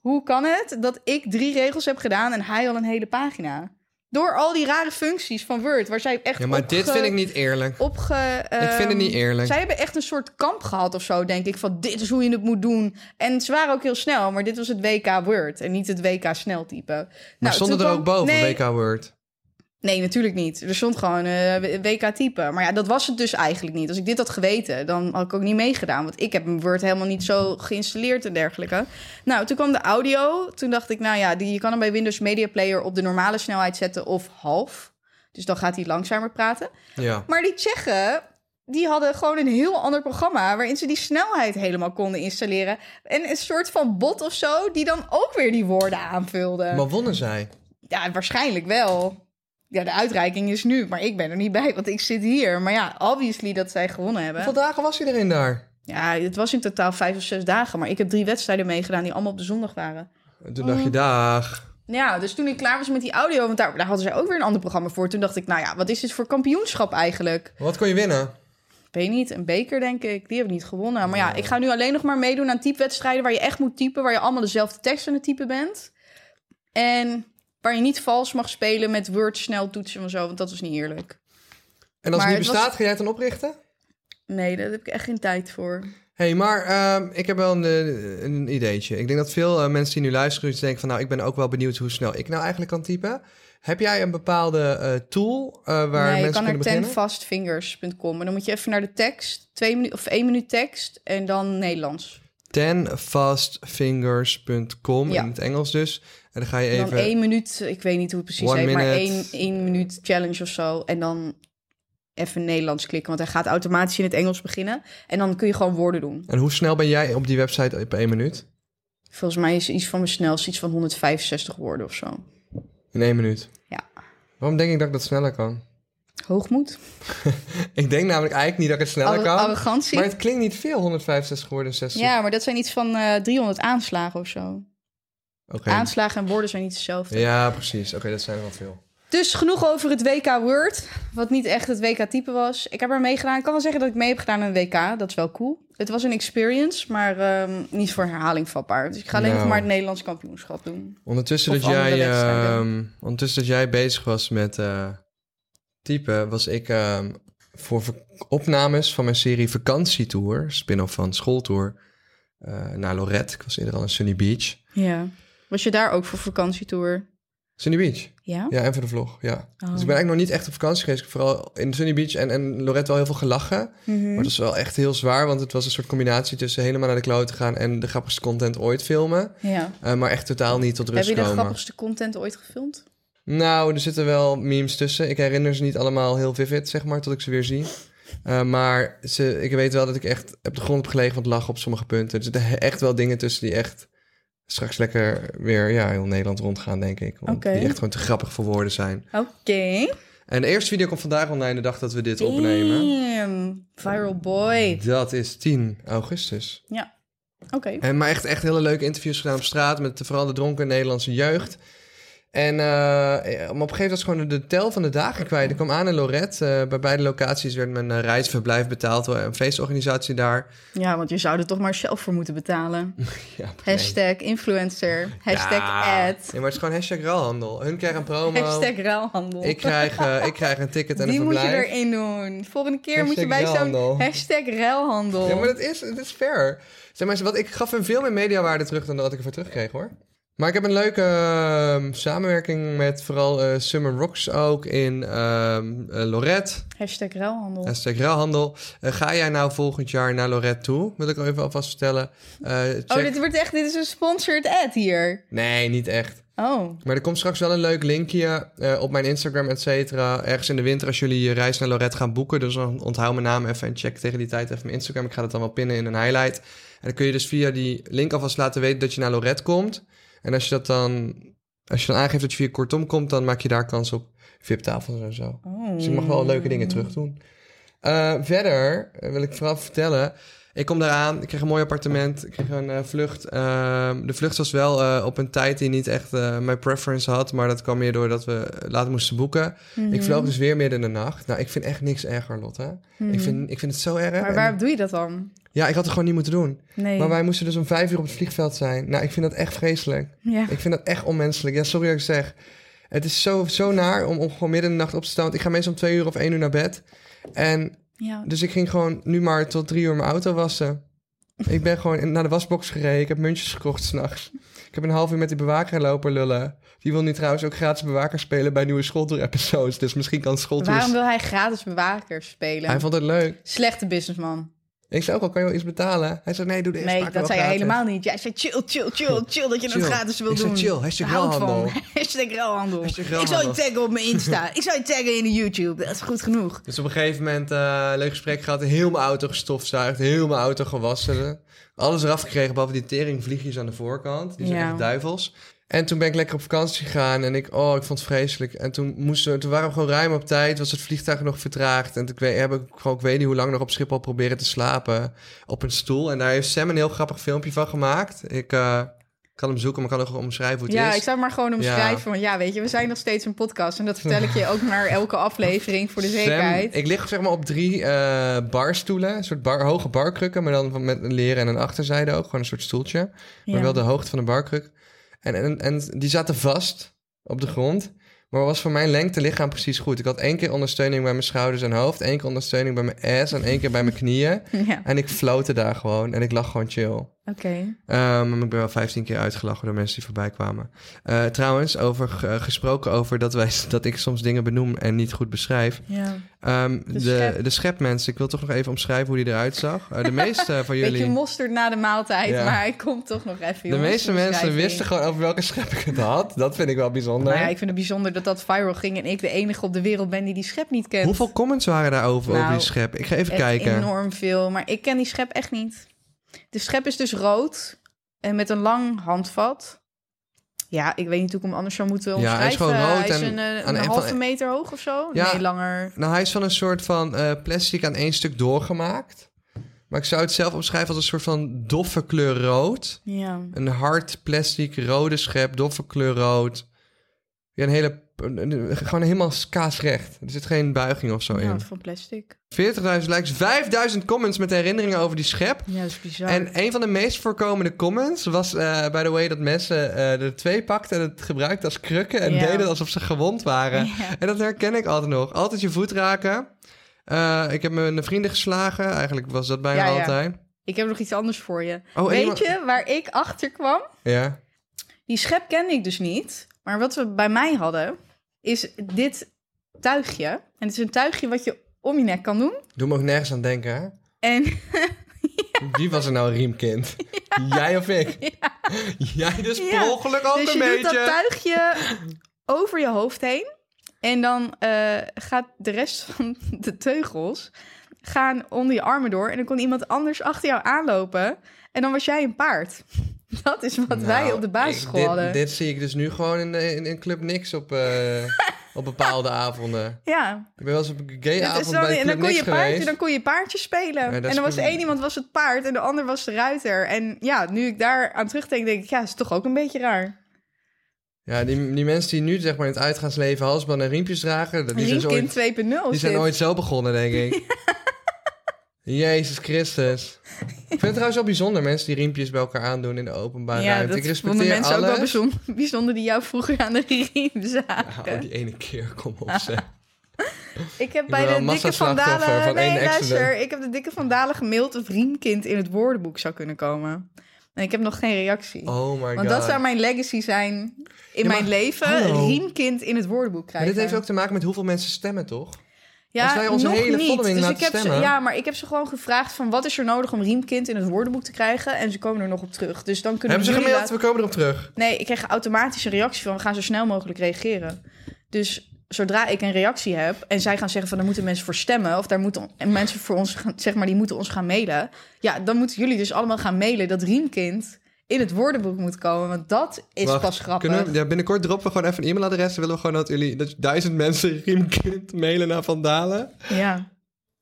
B: hoe kan het dat ik drie regels heb gedaan en hij al een hele pagina? Door al die rare functies van Word, waar zij echt
A: Ja, maar dit
B: opge-
A: vind ik niet eerlijk.
B: opge...
A: Ik vind het
B: ehm,
A: niet eerlijk.
B: Zij hebben echt een soort kamp gehad of zo, denk ik. Van dit is hoe je het moet doen. En ze waren ook heel snel, maar dit was het WK Word en niet het WK sneltype. Maar
A: Maar stond er ook boven,
B: Nou, nee,
A: WK Word?
B: Nee, natuurlijk niet. Er stond gewoon eh, WK type. Maar ja, dat was het dus eigenlijk niet. Als ik dit had geweten, dan had ik ook niet meegedaan. Want ik heb mijn Word helemaal niet zo geïnstalleerd en dergelijke. Nou, toen kwam de audio. Toen dacht ik, nou ja, die, je kan hem bij Windows Media Player op de normale snelheid zetten of half. Dus dan gaat hij langzamer praten.
A: Ja.
B: Maar die Tsjechen, die hadden gewoon een heel ander programma... waarin ze die snelheid helemaal konden installeren. En een soort van bot of zo, die dan ook weer die woorden aanvulde.
A: Maar wonnen zij?
B: Ja, waarschijnlijk wel. Ja, de uitreiking is nu, maar ik ben er niet bij, want ik zit hier. Maar ja, obviously dat zij gewonnen
A: Hoeveel
B: hebben.
A: dagen was iedereen daar?
B: Ja, het was in totaal vijf of zes dagen, maar ik heb drie wedstrijden meegedaan die allemaal op de zondag waren.
A: En Toen
B: Oh.
A: dacht je, dag.
B: Ja, dus toen ik klaar was met die audio, want daar, daar hadden zij ook weer een ander programma voor. Toen dacht ik, nou ja, wat is dit voor kampioenschap eigenlijk?
A: Wat kon je winnen?
B: Ik weet niet, een beker denk ik. Die heb ik niet gewonnen. Maar ja, ik ga nu alleen nog maar meedoen aan typewedstrijden... waar je echt moet typen, waar je allemaal dezelfde tekst aan het typen bent. En waar je niet vals mag spelen met Word snel toetsen en zo... want dat is niet eerlijk.
A: En als
B: Maar
A: het niet
B: het
A: bestaat,
B: was-
A: ga jij het dan oprichten?
B: Nee, daar heb ik echt geen tijd voor.
A: Hé, hey, maar ehm, ik heb wel een, eh, een ideetje. Ik denk dat veel eh, mensen die nu luisteren, dus denken van... nou, ik ben ook wel benieuwd hoe snel ik nou eigenlijk kan typen. Heb jij een bepaalde eh, tool eh, waar
B: nee, je
A: mensen
B: kan naar
A: kunnen beginnen?
B: tenfastfingers.com. En dan moet je even naar de tekst, twee minu- of één minuut tekst... en dan Nederlands.
A: Tenfastfingers.com,
B: Ja.
A: in het Engels dus. En dan ga je
B: En
A: even...
B: dan één minuut, ik weet niet hoe het precies
A: One
B: heet... maar
A: minute.
B: één, één minuut challenge of zo. En dan even Nederlands klikken... want hij gaat automatisch in het Engels beginnen. En dan kun je gewoon woorden doen.
A: En hoe snel ben jij op die website op één minuut?
B: Volgens mij is iets van mijn snelste iets van 165 woorden of zo.
A: In één minuut.
B: Ja.
A: Waarom denk ik dat ik dat sneller kan?
B: Hoogmoed.
A: Ik denk namelijk eigenlijk niet dat ik het sneller
B: Arro-
A: kan.
B: arrogantie.
A: Maar het klinkt niet veel, 165 woorden, 60.
B: Ja, maar dat zijn iets van eh, 300 aanslagen of zo.
A: Oké. dus-
B: Aanslagen en woorden zijn niet hetzelfde.
A: Ja, precies. Oké, dat zijn er wel veel.
B: Dus genoeg over het WK Word, wat niet echt het WK type was. Ik heb er meegedaan. Ik kan wel zeggen dat ik mee heb gedaan aan een WK. Dat is wel cool. Het was een experience, maar ehm, niet voor herhaling vatbaar. Dus ik ga alleen
A: Nou.
B: nog maar het Nederlands kampioenschap doen.
A: Ondertussen
B: Of
A: dat,
B: andere
A: jij,
B: wedstrijden.
A: ehm, ondertussen dat jij bezig was met eh, typen, was ik ehm, voor vak- opnames van mijn serie Vakantietour, spin-off van Schooltour, eh, naar Lorette. Ik was eerder al in Sunny Beach.
B: Ja. Was je daar ook voor vakantietour?
A: Sunny Beach?
B: Ja?
A: Ja, en voor de vlog, ja. Dus
B: Oh.
A: ik ben eigenlijk nog niet echt op vakantie geweest. Ik heb vooral in Sunny Beach en, en Lorette wel heel veel
B: Hm.
A: gelachen.
B: Mhm.
A: Maar het was wel echt heel zwaar, want het was een soort combinatie tussen helemaal naar de klote gaan en de grappigste content ooit filmen.
B: ja.
A: Eh, maar echt totaal niet tot
B: Heb
A: rust
B: je de
A: komen.
B: grappigste content ooit gefilmd?
A: Nou, er zitten wel memes tussen. Ik herinner ze niet allemaal heel vivid, zeg maar, tot ik ze weer zie. Eh, maar ze, ik weet wel dat ik echt op de grond heb gelegen van het lachen op sommige punten. Er zitten he- echt wel dingen tussen die echt straks lekker weer ja, heel Nederland rondgaan, denk ik. Want
B: Oké.
A: Die echt gewoon te grappig voor woorden zijn.
B: Oké.
A: En de eerste video komt vandaag online, de dag dat we dit opnemen.
B: Damn, viral boy.
A: Dat is 10 augustus.
B: Ja, oké.
A: En maar echt, echt hele leuke interviews gedaan op straat met vooral de dronken Nederlandse jeugd. En eh, eh, maar op een gegeven moment was ik gewoon de tel van de dagen kwijt. Ik kwam aan in Lorette. eh, bij beide locaties werd mijn eh, reisverblijf betaald door een feestorganisatie daar.
B: Ja, want je zou er toch maar zelf voor moeten betalen.
A: Ja,
B: Hashtag influencer. Hashtag
A: Ja.
B: ad.
A: Nee, maar het is gewoon hashtag ruilhandel. Hun krijgen een promo.
B: Hashtag ruilhandel.
A: Ik krijg, eh, ik krijg een ticket en
B: Die
A: een
B: moet je
A: verblijf.
B: erin doen. Volgende keer moet je
A: Hashtag
B: bij zo'n
A: ruilhandel.
B: hashtag ruilhandel.
A: Ja, maar dat is, dat is fair. Zeg maar, wat, ik gaf hem veel meer mediawaarde terug dan dat ik ervoor terugkreeg, hoor. Maar ik heb een leuke ehm, samenwerking met vooral eh, Summer Rocks ook in ehm, eh, Lorette.
B: Hashtag ruilhandel.
A: Hashtag ruilhandel. Eh, ga jij nou volgend jaar naar Lorette toe? Wil ik even alvast vertellen. Eh, check-
B: Oh, dit wordt echt, dit is een sponsored ad hier.
A: Nee, niet echt.
B: Oh,
A: Maar er komt straks wel een leuk linkje eh, op mijn Instagram, et cetera. Ergens in de winter als jullie je reis naar Lorette gaan boeken. Dus dan onthoud mijn naam even en check tegen die tijd even mijn Instagram. Ik ga dat dan wel pinnen in een highlight. En dan kun je dus via die link alvast laten weten dat je naar Lorette komt. En als je dat dan, als je dan aangeeft dat je via Kortom komt, dan maak je daar kans op VIP-tafels en zo.
B: Oh.
A: Dus ik mag wel leuke dingen terug doen. Eh, verder eh, wil ik vooral vertellen. Ik kom daaraan, ik kreeg een mooi appartement, ik kreeg een eh, vlucht. Ehm, de vlucht was wel eh, op een tijd die niet echt eh, mijn preference had, maar dat kwam meer doordat we laat moesten boeken.
B: Mhm.
A: Ik vloog dus weer midden in de nacht. Nou, ik vind echt niks erger, Lotte. ik, vind, ik vind het zo erg.
B: Mhm. maar
A: En-
B: waarom doe je dat dan?
A: Ja, ik had het gewoon niet moeten doen.
B: Nee.
A: Maar wij moesten dus om vijf uur op het vliegveld zijn. Nou, ik vind dat echt vreselijk.
B: ja.
A: Ik vind dat echt onmenselijk. Ja, sorry dat ik zeg. Het is zo, zo naar om, om gewoon midden in de nacht op te staan. Want ik ga meestal om twee uur of één uur naar bed. En
B: ja.
A: dus ik ging gewoon nu maar tot drie uur mijn auto wassen. Ik ben gewoon in- naar de wasbox gereden. Ik heb muntjes gekocht s'nachts. Ik heb een half uur met die bewaker lopen lullen. Die wil nu trouwens ook gratis bewaker spelen bij nieuwe schooltour-episodes. Dus misschien kan schooltour...
B: Waarom wil hij gratis bewaker spelen?
A: Hij vond het leuk.
B: Slechte businessman.
A: Ik zei ook al, kan je wel iets betalen? Hij zei, nee, doe de eerste
B: Nee,
A: paar keer
B: dat
A: wel
B: zei hij
A: gratis.
B: helemaal niet. Jij zei chill, chill, chill, chill dat je dat
A: Chill.
B: gratis wil
A: Ik zei
B: doen.
A: chill, hashtag
B: Daar hou ik
A: ruilhandel.
B: van. [LAUGHS] Hashtag ruilhandel.
A: Hashtag
B: Ik zou je
A: ruilhandel.
B: taggen op mijn Insta. ik zou je taggen in de YouTube. Dat is goed genoeg.
A: Dus op een gegeven moment eh leuk gesprek gehad. Heel mijn auto gestofzuigd. Heel mijn auto gewassen. Alles eraf gekregen, behalve die teringvliegjes aan de voorkant. Die zijn
B: Ja.
A: echt duivels. En toen ben ik lekker op vakantie gegaan en ik, oh, ik vond het vreselijk. En toen, moesten, we- toen waren we gewoon ruim op tijd, was het vliegtuig nog vertraagd. En toen weet, heb ik gewoon, ik weet niet hoe lang nog op Schiphol proberen te slapen op een stoel. En daar heeft Sam een heel grappig filmpje van gemaakt. Ik eh, kan hem zoeken, maar ik kan ook omschrijven hoe het
B: Ja,
A: is.
B: ik zou maar gewoon omschrijven.
A: omschrijven,
B: Want ja, weet je, we zijn nog steeds een podcast. En dat vertel ik je
A: [LAUGHS]
B: ook maar elke aflevering voor de zekerheid.
A: Sam, ik lig zeg maar op drie eh, barstoelen. Een soort bar, hoge barkrukken, maar dan van- met een leren en een achterzijde ook. Gewoon een soort stoeltje. Maar wel de hoogte van een barkruk. En, en, en die zaten vast op de grond. Maar was voor mijn lengte lichaam precies goed. Ik had één keer ondersteuning bij mijn schouders en hoofd. één keer ondersteuning bij mijn ass en één keer bij mijn knieën.
B: [LAUGHS]
A: [LAUGHS]
B: Ja,
A: En ik floten daar gewoon. En ik lag gewoon chill.
B: oké.
A: Ehm, maar ik ben wel 15 keer uitgelachen door mensen die voorbij kwamen. Eh, trouwens, over, eh, gesproken over dat, wij, [LAUGHS] dat ik soms dingen benoem en niet goed beschrijf.
B: Ja.
A: Ehm, de, de,
B: schep.
A: schepmensen, ik wil toch nog even omschrijven hoe die eruit zag. Eh, de
B: [LAUGHS]
A: meeste van
B: Beetje
A: jullie.
B: mosterd na de maaltijd,
A: Ja.
B: maar ik kom toch nog even.
A: De
B: jongens,
A: meeste mensen
B: beschrijving.
A: wisten gewoon over welke schep ik het had. Dat vind ik wel bijzonder.
B: Nou ja, ik vind het bijzonder dat dat viral ging en ik de enige op de wereld ben die die schep niet kent.
A: Hoeveel comments waren daarover
B: Nou,
A: over die schep? Ik ga even
B: Echt
A: kijken.
B: enorm veel, maar ik ken die schep echt niet. De schep is dus rood en met een lang handvat. Ja, ik weet niet hoe ik hem anders zou moeten
A: Ja,
B: omschrijven.
A: hij is gewoon rood
B: Hij is
A: en
B: een, eh,
A: aan
B: een
A: een
B: halve
A: van-
B: meter hoog of zo.
A: Ja.
B: Nee, langer.
A: Nou, hij is van een soort van eh, plastic aan één stuk doorgemaakt. Maar ik zou het zelf omschrijven als een soort van doffe kleur rood.
B: Ja.
A: Een hard plastic rode schep, doffe kleur rood. Ja, een hele. een- een- Gewoon helemaal kaasrecht. Er zit geen buiging of zo
B: Ja,
A: in.
B: Nou, van plastic.
A: 40.000 likes, 5000 comments met herinneringen over die schep.
B: Ja, dat is bizar.
A: En een van de meest voorkomende comments was, eh by the way, dat mensen eh er twee pakten en het gebruikten als krukken en
B: Ja.
A: deden alsof ze gewond waren.
B: Ja.
A: En dat herken ik altijd nog. Altijd je voet raken. Eh, ik heb mijn vrienden geslagen. Eigenlijk was dat bijna
B: Ja, ja.
A: altijd.
B: Ik heb nog iets anders voor je.
A: Oh, en
B: Weet
A: iemand-
B: je waar ik achter kwam?
A: Ja.
B: Die schep kende ik dus niet. Maar wat we bij mij hadden, is dit tuigje. En het is een tuigje wat je om je nek kan doen.
A: Doe me ook nergens aan denken. Hè?
B: En
A: Wie was er nou een
B: [LAUGHS]
A: riemkind? Jij of ik? Jij dus
B: Ja.
A: per ongeluk ook
B: dus
A: een
B: je doet dat
A: beetje.
B: tuigje over je hoofd heen. En dan eh, gaat de rest van [LAUGHS] de teugels gaan onder je armen door. En dan kon iemand anders achter jou aanlopen. En dan was jij een paard. [LAUGHS] Dat is wat wij
A: Nou,
B: op de
A: ik-
B: basisschool
A: dit-
B: hadden.
A: Dit, zie ik dus nu gewoon in, eh, in, in Club Niks op, eh,
B: [LAUGHS]
A: op bepaalde avonden.
B: Ja,
A: Ik ben wel eens op een
B: dat is
A: gayavond
B: dan,
A: bij
B: en
A: Club
B: dan kon,
A: Niks
B: je paardje,
A: geweest.
B: dan kon je paardje spelen.
A: dat
B: en
A: is
B: dan was de
A: prima.
B: een iemand was het paard en de ander was de ruiter. En ja, nu ik daar aan terugdenk, denk ik, ja, is toch ook een beetje raar.
A: Ja, die, die mensen die nu zeg maar in het uitgaansleven halsbanden en riempjes dragen, die zijn, zo
B: Riemkind
A: ooit,
B: 2.0
A: die zijn
B: zit.
A: ooit zo begonnen, denk
B: [LAUGHS]
A: ik. Jezus Christus. Ik vind het trouwens wel bijzonder, mensen die riempjes bij elkaar aandoen in de openbare
B: ja,
A: ruimte.
B: dat
A: eh, ik
B: vonden
A: respecteer
B: mensen ook wel
A: alles.
B: bijzonder, bijzonder die jou vroeger aan de riem [LAUGHS] zagen.
A: oh, die ene keer, kom
B: [LAUGHS]
A: op zeg.
B: Ik heb bij
A: Ik ben wel
B: de
A: een
B: dikke
A: massaslachtoffer
B: vandalen...
A: van
B: nee,
A: één
B: luister.
A: accident.
B: Ik heb de dikke vandalen gemaild of riemkind in het woordenboek zou kunnen komen. En ik heb nog geen reactie.
A: Oh my god.
B: Want dat zou mijn legacy zijn in
A: maar-
B: mijn leven.
A: Hallo.
B: Riemkind in het woordenboek
A: Maar
B: krijgen.
A: dit heeft ook te maken met hoeveel mensen stemmen, toch?
B: ja,
A: als wij onze
B: nog
A: hele
B: niet.
A: following
B: dus
A: laten
B: ik heb ze,
A: stemmen.
B: Ja, maar ik heb ze gewoon gevraagd van wat is er nodig om riemkind in het woordenboek te krijgen. En ze komen er nog op terug. Dus dan kunnen
A: Hebben ze
B: jullie
A: gemaild?
B: laten-
A: We komen erop terug.
B: Nee, ik kreeg automatisch een reactie van we gaan zo snel mogelijk reageren. Dus zodra ik een reactie heb en zij gaan zeggen van daar moeten mensen voor stemmen of daar moeten en mensen voor ons gaan, zeg maar die moeten ons gaan mailen. Ja, dan moeten jullie dus allemaal gaan mailen dat Riemkind in het woordenboek moet komen, want dat is
A: Wacht,
B: pas grappig.
A: Kunnen we, ja, binnenkort droppen we gewoon even een e-mailadres. Dan willen we gewoon dat jullie dat duizend mensen riemkind mailen naar Vandalen.
B: Ja.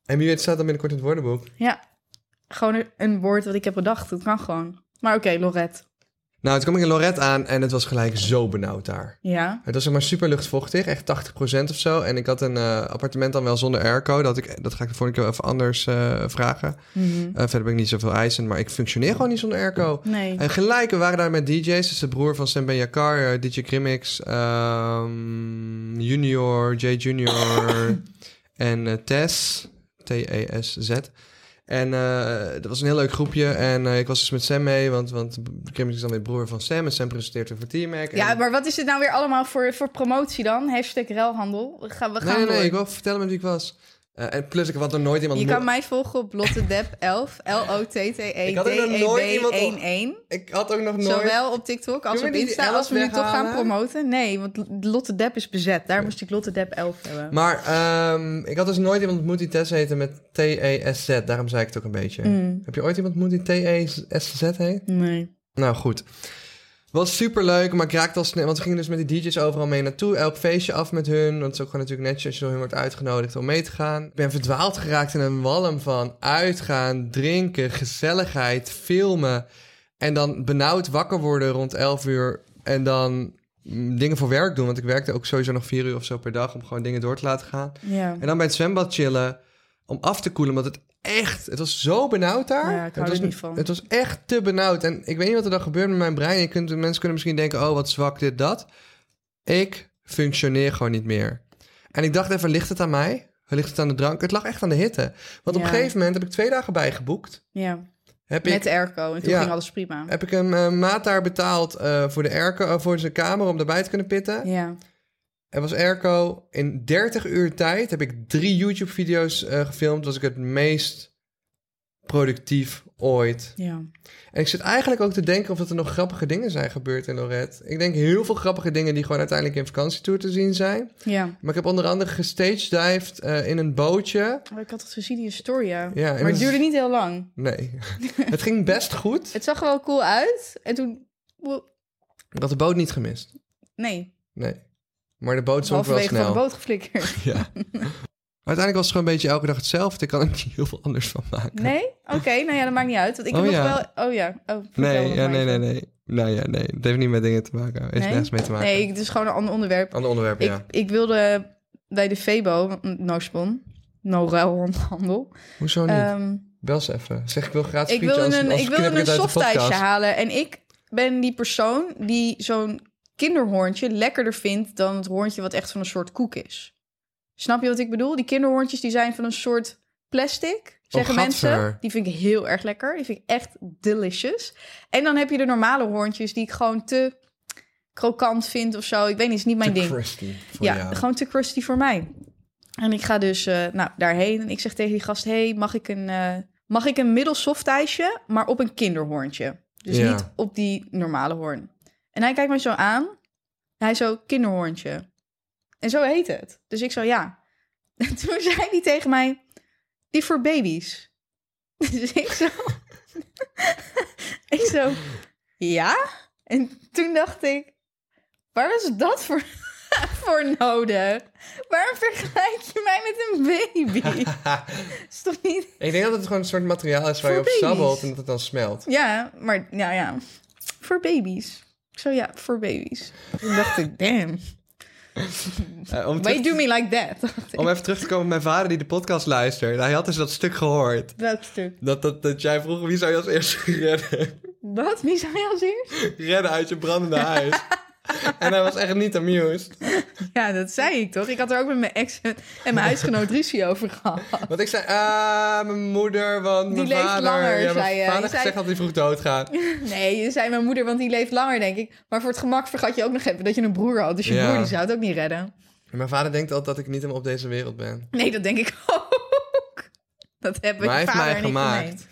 A: En wie weet staat dan binnenkort in het woordenboek.
B: Ja. Gewoon een- een woord wat ik heb bedacht. Dat kan gewoon. Maar oké, Lorette.
A: Nou, toen kwam ik in Lorette aan en het was gelijk zo benauwd daar.
B: Ja.
A: Het was zeg maar super luchtvochtig, echt 80% of zo. En ik had een eh, appartement dan wel zonder airco. Dat, ik, dat ga ik de volgende keer wel even anders eh, vragen.
B: Mhm.
A: Eh, verder ben ik niet zoveel eisen, maar ik functioneer gewoon niet zonder airco.
B: Nee.
A: En gelijk, we waren daar met DJ's. Dus de broer van Sam Ben Yakar, eh, DJ Grimmix, ehm, Junior, J Junior
B: [COUGHS]
A: en eh, Tess. T-E-S-Z. En eh, dat was een heel leuk groepje. En eh, ik was dus met Sam mee, want, want Grimmix is dan weer broer van Sam. En Sam presenteert weer voor T-Mac.
B: Ja,
A: en...
B: maar wat is dit nou weer allemaal voor, voor promotie dan? Hashtag ruilhandel. We gaan, we gaan
A: Nee, nee, nee,
B: door.
A: ik wil vertellen met wie ik was. Eh, en plus, ik had nog nooit iemand...
B: Je
A: mo-
B: kan mij volgen op [LAUGHS] lottedep11. E
A: Ik had er nog nooit iemand op-
B: L-O-T-T-E-D-E-B-1-1.
A: Ik had ook nog nooit...
B: Zowel op TikTok als
A: Kunnen
B: op
A: we die
B: Insta.
A: 11
B: Als we nu toch gaan
A: weghalen?
B: promoten. Nee, want Lotte Depp is bezet. Daar moest ik Lotte Depp 11 hebben.
A: Maar ehm, ik had dus nooit iemand ontmoet die Tess heette met T-E-S-Z. Daarom zei ik het ook een beetje.
B: Mm.
A: Heb je ooit iemand ontmoet die T-E-S-Z heet?
B: Nee.
A: Nou, goed. Was superleuk, maar ik raakte al snel... Want we gingen dus met die DJ's overal mee naartoe. Elk feestje af met hun. Want het is ook gewoon natuurlijk netjes als je door hun wordt uitgenodigd om mee te gaan. Ik ben verdwaald geraakt in een walm van uitgaan, drinken, gezelligheid, filmen. En dan benauwd wakker worden rond 11 uur. En dan mm, dingen voor werk doen. Want ik werkte ook sowieso nog 4 uur of zo per dag om gewoon dingen door te laten gaan.
B: Ja.
A: En dan bij het zwembad chillen om af te koelen. Want het echt, het was zo benauwd daar.
B: Ja, ik hou
A: het was,
B: er niet van.
A: Het was echt te benauwd. En ik weet niet wat er dan gebeurt met mijn brein. Je kunt, mensen kunnen misschien denken, oh wat zwak dit, dat. Ik functioneer gewoon niet meer. En ik dacht even, ligt het aan mij? Ligt het aan de drank? Het lag echt aan de hitte. Want op
B: Ja.
A: een gegeven moment heb ik twee dagen bijgeboekt.
B: ja.
A: Heb ik
B: Met de airco. En toen
A: Ja.
B: ging alles prima.
A: heb ik een eh, maat daar betaald eh, voor, de airco, eh, voor zijn kamer om erbij te kunnen pitten.
B: Ja.
A: Er was airco. In 30 uur tijd heb ik drie YouTube-video's eh, gefilmd. Was ik het meest productief ooit.
B: Ja.
A: En ik zit eigenlijk ook te denken of dat er nog grappige dingen zijn gebeurd in Lorette. Ik denk heel veel grappige dingen die gewoon uiteindelijk in vakantietour te zien zijn.
B: Ja.
A: Maar ik heb onder andere gestagedived eh, in een bootje.
B: Maar ik had het gezien in je story, ja.
A: Ja, en
B: maar het
A: dat-
B: duurde niet heel lang.
A: Nee, [LAUGHS] het ging best goed.
B: Het zag er wel cool uit. En toen... wo-
A: Ik had de boot niet gemist.
B: Nee,
A: Nee. Maar de boot zonk wel
B: halverwege van de
A: snel.
B: boot geflikkerd.
A: [LAUGHS] Uiteindelijk was het gewoon een beetje elke dag hetzelfde. Ik kan er niet heel veel anders van maken.
B: Nee? Oké, nou ja, dat maakt niet uit. Want ik heb
A: Oh,
B: nog
A: ja.
B: wel... Oh ja. Oh, vertel
A: Nee,
B: nog
A: ja,
B: maar
A: nee, nee,
B: even.
A: nee. Nou ja, nee. Het heeft niet met dingen te maken. Het heeft
B: Nee?
A: nergens mee te maken.
B: Nee, het is gewoon een ander onderwerp.
A: Ander onderwerp, ja.
B: ik, ik wilde bij de Febo, no spon, no ruilhandel.
A: Hoezo Oh, niet?
B: Ehm
A: Bel ze even. Zeg, ik wil gratis
B: ik wilde
A: frietje,
B: een,
A: anders-
B: ik
A: anders knip
B: wilde een
A: het uit de
B: softijsje
A: podcast.
B: halen. En ik ben die persoon die zo'n kinderhoorntje lekkerder vindt dan het hoorntje wat echt van een soort koek is. Snap je wat ik bedoel? Die kinderhoorntjes die zijn van een soort plastic, zeggen mensen.
A: Oh, gadver.
B: Die vind ik heel erg lekker. Die vind ik echt delicious. En dan heb je de normale hoorntjes die ik gewoon te krokant vind of zo. Ik weet niet, is niet mijn
A: Te
B: ding.
A: crusty voor
B: Ja,
A: jou.
B: gewoon te crusty voor mij. En ik ga dus eh, nou, daarheen en ik zeg tegen die gast... hey, mag ik een, eh mag ik een middel soft ijsje, maar op een kinderhoorntje? Dus
A: Ja.
B: niet op die normale hoorn. En hij kijkt mij zo aan. En hij zo, kinderhoorntje. En zo heet het. Dus ik zo, ja. [LAUGHS] En toen zei hij tegen mij, die voor baby's. [LAUGHS] Dus ik zo... [LAUGHS] ik zo, ja? En toen dacht ik, waar was dat voor, [LAUGHS] voor nodig? Waarom vergelijk je mij met een baby? Is toch niet...
A: Ik denk dat het gewoon een soort materiaal is waar je
B: Voor
A: op
B: baby's.
A: sabbelt en dat het dan smelt.
B: Ja, maar nou ja, voor baby's. zo, ja, voor baby's. Toen dacht ik, damn,
A: Eh,
B: why
A: om,
B: you
A: terug-
B: do me like that? Dacht ik.
A: om even terug te komen op mijn vader die de podcast luistert. Hij had dus dat stuk gehoord.
B: Dat stuk.
A: Dat, dat, dat jij vroeg wie zou je als eerste [LAUGHS] redden?
B: Wat? Wie zou je als eerst?
A: redden uit je brandende huis.
B: [LAUGHS]
A: en hij was echt niet amused.
B: Ja, dat zei ik toch? Ik had er ook met mijn ex en en mijn huisgenoot ruzie over gehad.
A: Want ik zei, ah, mijn moeder, want mijn
B: leeft
A: vader...
B: langer,
A: ja, mijn
B: zei je. Je
A: vader heeft
B: zei-
A: gezegd dat hij vroeg doodgaat.
B: Nee, je zei mijn moeder, want die leeft langer, denk ik. Maar voor het gemak vergat je ook nog even dat je een broer had. Dus je
A: Ja.
B: broer die zou het ook niet redden.
A: Mijn vader denkt altijd dat ik niet helemaal op deze wereld ben.
B: Nee, dat denk ik ook. Dat hebben
A: Maar hij
B: je
A: heeft
B: vader
A: mij
B: en ik
A: gemaakt.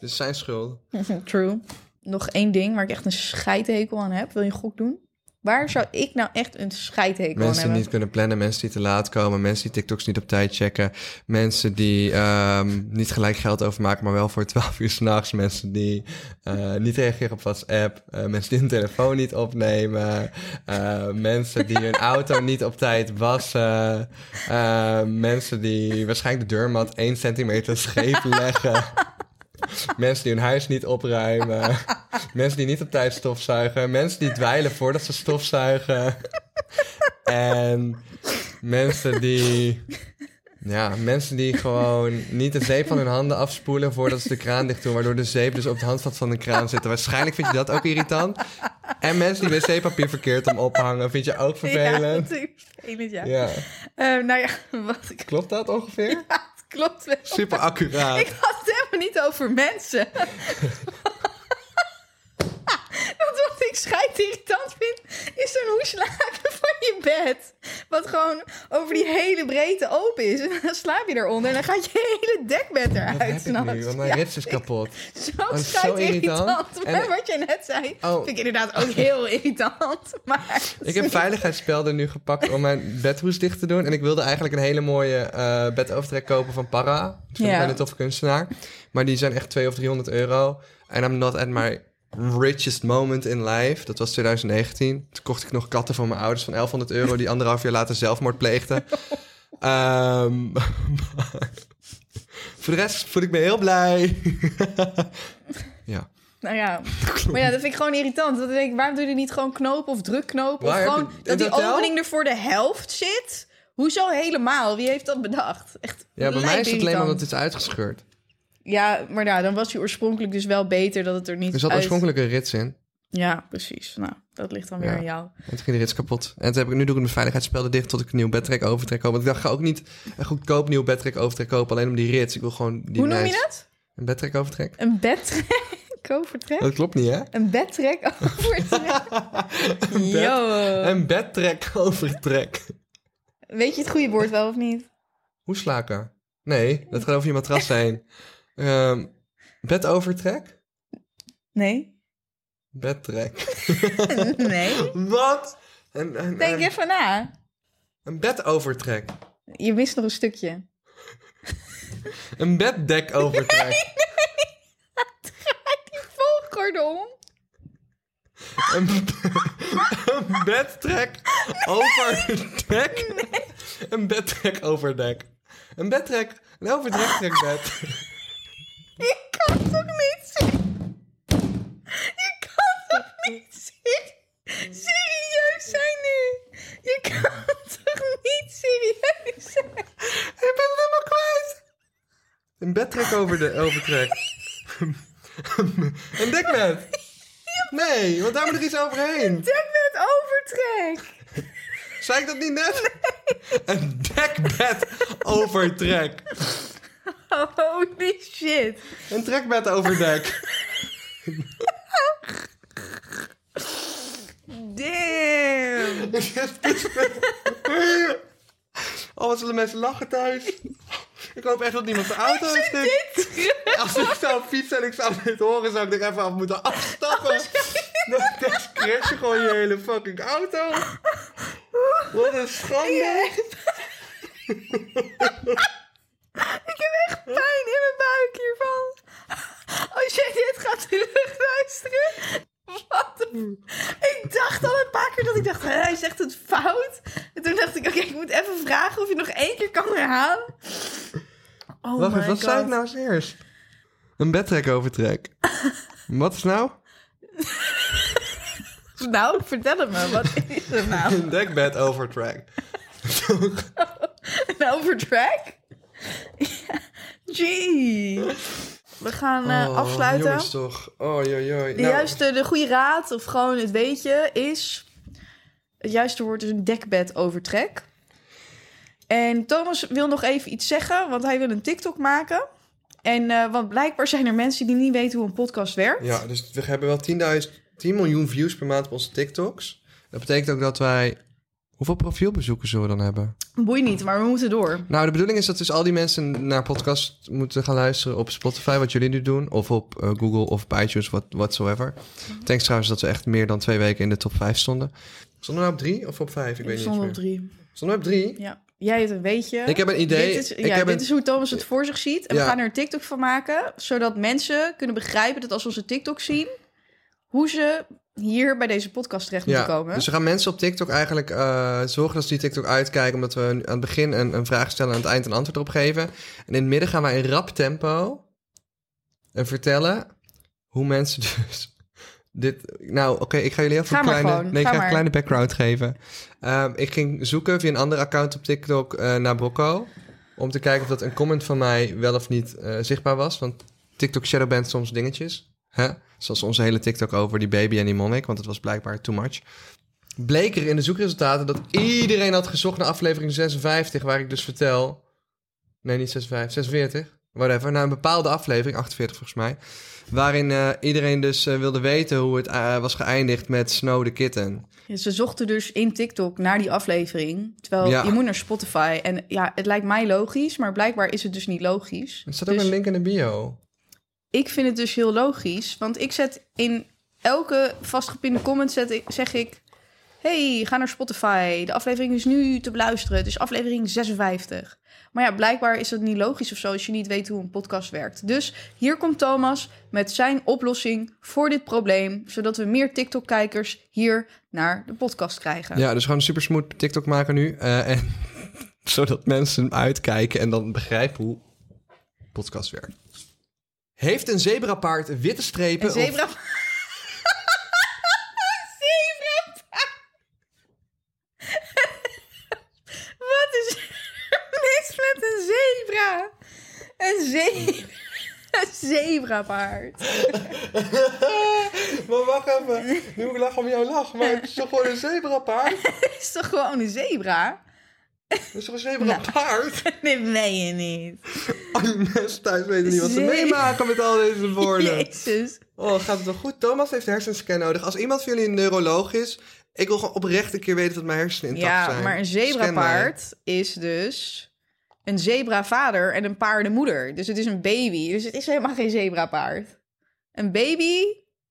A: Dus zijn schuld.
B: gemeen. True. Nog één ding waar ik echt een scheidhekel aan heb. Wil je een gok doen? Waar zou ik nou echt een scheidhekel
A: Mensen
B: aan
A: die
B: hebben?
A: niet kunnen plannen, mensen die te laat komen, mensen die TikToks niet op tijd checken, mensen die ehm, niet gelijk geld overmaken, maar wel voor 12 uur s'nachts, mensen die eh, niet reageren op WhatsApp, eh, mensen die hun telefoon niet opnemen, eh, mensen die hun auto niet op tijd wassen, eh, mensen die waarschijnlijk de deurmat 1 centimeter scheef leggen. Mensen die hun huis niet opruimen. mensen die niet op tijd stofzuigen. Mensen die dweilen voordat ze stofzuigen. En mensen die. Ja, mensen die gewoon niet de zeep van hun handen afspoelen voordat ze de kraan dicht doen. Waardoor de zeep dus op het handvat van de kraan zit. Waarschijnlijk vind je dat ook irritant. En mensen die wc-papier verkeerd om ophangen, vind je ook
B: Ja, [LAUGHS]
A: vervelend.
B: natuurlijk. Vervelend, ja.
A: Ja,
B: Eh, nou ja, [LAUGHS] wat ik...
A: klopt dat ongeveer?
B: Het klopt wel.
A: Super accuraat.
B: Ik had het helemaal niet over
A: [LAUGHS]
B: mensen. [LAUGHS] Want wat ik schijt irritant vind, is zo'n hoeslaken van je bed. Wat gewoon over die hele breedte open is. En dan slaap je eronder en dan gaat je hele dekbed
A: Dat
B: eruit.
A: heb ik
B: s'nachts.
A: nu, want mijn
B: Ja,
A: rits is kapot.
B: Zo
A: is Oh, zo
B: schijt irritant.
A: irritant. En-
B: Maar wat je net zei,
A: Oh.
B: vind ik inderdaad ook
A: [LAUGHS]
B: heel irritant. Maar
A: Ik
B: [LAUGHS]
A: heb veiligheidsspelden nu gepakt om mijn bedhoes dicht te doen. En ik wilde eigenlijk een hele mooie eh, bedovertrek kopen van Para. Dat vind
B: Ja.
A: ik wel een toffe kunstenaar. Maar die zijn echt 200 of 300 euro. En I'm not at my richest moment in life. Dat was 2019. Toen kocht ik nog katten van mijn ouders van 1100 euro... die anderhalf jaar later
B: [LAUGHS]
A: zelfmoord pleegden. Ehm, [LAUGHS] maar voor de rest voel ik me heel blij. [LAUGHS] ja.
B: Nou ja, maar ja, dat vind ik gewoon irritant. Dat denk ik, waarom doe je er niet gewoon knopen of drukknopen? Of
A: Waar heb
B: gewoon
A: je- in
B: dat die
A: het hotel?
B: opening er voor de helft zit? Hoezo helemaal? Wie heeft dat bedacht? Echt
A: ja, bij mij is het alleen maar
B: lijpirritant.
A: omdat het is uitgescheurd.
B: Ja, maar nou, dan was hij oorspronkelijk dus wel beter dat het er niet
A: Er zat
B: uit...
A: oorspronkelijk een rits in.
B: Ja, precies. Nou, dat ligt dan weer
A: Ja.
B: aan jou.
A: En toen ging de rits kapot. En toen heb ik, nu doe ik mijn veiligheidsspelden dicht tot ik een nieuw bedtrek overtrek koop. Want ik dacht, ga ook niet een goedkoop nieuw bedtrek overtrek kopen. Alleen om die rits. Ik wil gewoon die
B: Hoe noem je
A: nice-
B: dat?
A: Een bedtrek overtrek.
B: Een bedtrek [LAUGHS] overtrek?
A: Dat klopt niet, hè?
B: Een bedtrek [LAUGHS]
A: [LAUGHS]
B: overtrek? Yo.
A: Een bedtrek overtrek.
B: Weet je het goede woord wel of niet?
A: Hoe slaken? Nee, dat gaat over je
B: [LAUGHS]
A: matras heen. Ehm bed overtrek?
B: Nee?
A: Bedtrek.
B: [LAUGHS] Nee?
A: Wat? Een, een,
B: Denk
A: een,
B: even na.
A: een bed overtrek.
B: Je mist nog een stukje. [LAUGHS]
A: Een beddek
B: [LAUGHS]
A: overtrek.
B: Draai die volgorde om.
A: Een, [LAUGHS] een bedtrek overdek. Een bedtrek overdek. Een bedtrek, een overdrektrekbed.
B: Je kan toch niet zien? Je kan toch niet zien? Serieus zijn nu? Je kan toch niet serieus zijn?
A: Ik ben het helemaal kwijt. Een bedtrek over de overtrek. een dekbed. Nee, want daar moet er iets overheen.
B: Dekbed overtrek.
A: Zei ik dat niet net? Een dekbed overtrek.
B: Holy shit.
A: Een trekbed overdek.
B: Damn.
A: [LAUGHS] Oh, wat zullen mensen lachen thuis? Ik hoop echt dat niemand zijn auto heeft.
B: Dit terug.
A: Als ik zou fietsen en ik zou dit horen, zou ik er even af moeten afstappen. Dan dan crash je gewoon je hele fucking auto. Wat een schande.
B: [LAUGHS] Ik heb echt pijn in mijn buik hiervan. Als jij dit gaat terugluisteren. Wat de-
A: Hmm.
B: Ik dacht al een paar keer dat ik dacht, hè, hij zegt het fout. En toen dacht ik, oké, ik moet even vragen of je nog één keer kan herhalen. Oh
A: Wacht
B: my
A: even, wat
B: God.
A: zei ik nou als eerst? Een bedtrek overtrek. Wat is nou?
B: Nou, vertel het
A: [LAUGHS]
B: me. Wat is het nou?
A: Een dekbed overtrack.
B: Een overtrack? [LAUGHS] Ja, Gee. We gaan eh,
A: Oh,
B: afsluiten.
A: Jongens toch. Oh, joi, joi.
B: De juiste, de goede raad of gewoon het weetje is... Het juiste woord is een dekbed overtrek. En Thomas wil nog even iets zeggen, want hij wil een TikTok maken. En, eh, want blijkbaar zijn er mensen die niet weten hoe een podcast werkt.
A: Ja, dus we hebben wel 10.000, 10 miljoen views per maand op onze TikToks. Dat betekent ook dat wij... Hoeveel profielbezoekers zullen we dan hebben?
B: Boeit niet, maar we moeten door.
A: Nou, de bedoeling is dat dus al die mensen naar podcast moeten gaan luisteren op Spotify, wat jullie nu doen. Of op eh, Google of op iTunes, what, whatsoever.
B: Mhm.
A: Thanks trouwens dat we echt meer dan twee weken in de top 5 stonden. Stonden we nou op drie of op vijf? Ik weet
B: Ik
A: niet
B: stond
A: eens
B: op
A: meer.
B: drie.
A: Stonden we op drie?
B: Ja. Jij hebt een weetje.
A: Ik heb een idee.
B: Dit is,
A: Ik
B: ja,
A: heb
B: dit
A: een-
B: is hoe Thomas het voor zich ziet. En
A: Ja.
B: we gaan er een TikTok van maken, zodat mensen kunnen begrijpen dat als ze onze TikTok zien, hoe ze hier bij deze podcast terecht moeten komen.
A: dus we gaan mensen op TikTok eigenlijk eh, zorgen dat ze die TikTok uitkijken... omdat we aan het begin een, een vraag stellen en aan het eind een antwoord erop geven. En in het midden gaan wij in rap tempo en vertellen hoe mensen dus... [LAUGHS] Dit, nou, oké, ik ga jullie even
B: Ga
A: een
B: maar
A: kleine,
B: gewoon,
A: nee, ik
B: ga
A: ga een
B: maar.
A: kleine background geven. Ehm, ik ging zoeken via een andere account op TikTok eh, naar Brocco... om te kijken of dat een comment van mij wel of niet eh, zichtbaar was. Want TikTok shadowband soms dingetjes. Hè? Zoals onze hele TikTok over die baby en die monnik, want het was blijkbaar too much. Bleek er in de zoekresultaten dat iedereen had gezocht naar aflevering 56, waar ik dus vertel. Nee, niet 56, 46. Whatever. Naar een bepaalde aflevering, 48 volgens mij. Waarin eh, iedereen dus eh, wilde weten hoe het eh, was geëindigd met Snow the Kitten.
B: Ja, Ze zochten dus in TikTok naar die aflevering. Terwijl
A: Ja.
B: je moet naar Spotify. En ja, het lijkt mij logisch, maar blijkbaar is het dus niet logisch.
A: Er staat ook
B: Dus
A: een link in de bio.
B: Ik vind het dus heel logisch. Want ik zet in elke vastgepinde comment zet ik, zeg ik... Hey, ga naar Spotify. De aflevering is nu te beluisteren. Het is aflevering 56. Maar ja, blijkbaar is dat niet logisch of zo... als je niet weet hoe een podcast werkt. Dus hier komt Thomas met zijn oplossing voor dit probleem... zodat we meer TikTok-kijkers hier naar de podcast krijgen.
A: Ja, dus gewoon een super smooth TikTok maken nu. eh, en, [LAUGHS] zodat mensen hem uitkijken en dan begrijpen hoe podcast werkt. Heeft een zebrapaard witte strepen?
B: Een zebra... [LAUGHS] zebra... Wat is er mis met een zebra? Een zebra... Een zebrapaard.
A: Of... Maar wacht even. Nu moet ik lachen om jouw lach. Maar het is toch gewoon een zebrapaard?
B: Het is toch gewoon een zebra?
A: Het is toch een
B: [LAUGHS]
A: zebrapaard?
B: Nee, meen je niet.
A: Al die mensen thuis weten niet wat ze
B: Zebra.
A: meemaken met al deze
B: [LAUGHS]
A: woorden.
B: Jezus.
A: Oh, gaat het wel goed? Thomas heeft hersenscan nodig. Als iemand van jullie een neuroloog is... Ik wil gewoon oprecht een keer weten dat mijn hersenen intact zijn.
B: Ja, maar een
A: Scan mij.
B: zebrapaard is dus een zebravader en een paardenmoeder. Dus het is een baby. Dus het is helemaal geen zebrapaard. Een baby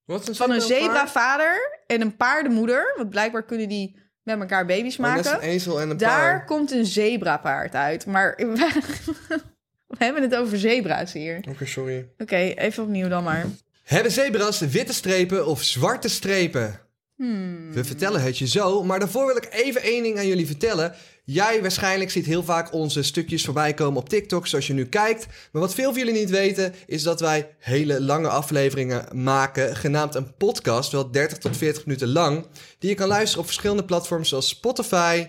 A: Wat is
B: van een
A: zebrapaard?
B: zebravader en een paardenmoeder. Want blijkbaar kunnen die met elkaar baby's
A: Oh, net als
B: maken.
A: een ezel en een
B: Daar
A: paard.
B: komt een zebrapaard uit. Maar [LAUGHS] we, hebben het over zebra's hier. Oké,
A: Oké, sorry.
B: even opnieuw dan maar.
A: Hebben zebra's witte strepen of zwarte strepen? We vertellen het je zo, maar daarvoor wil ik even één ding aan jullie vertellen. Jij waarschijnlijk ziet heel vaak onze stukjes voorbij komen op TikTok, zoals je nu kijkt. Maar wat veel van jullie niet weten, is dat wij hele lange afleveringen maken, genaamd een podcast, wel 30 tot 40 minuten lang, die je kan luisteren op verschillende platforms zoals Spotify,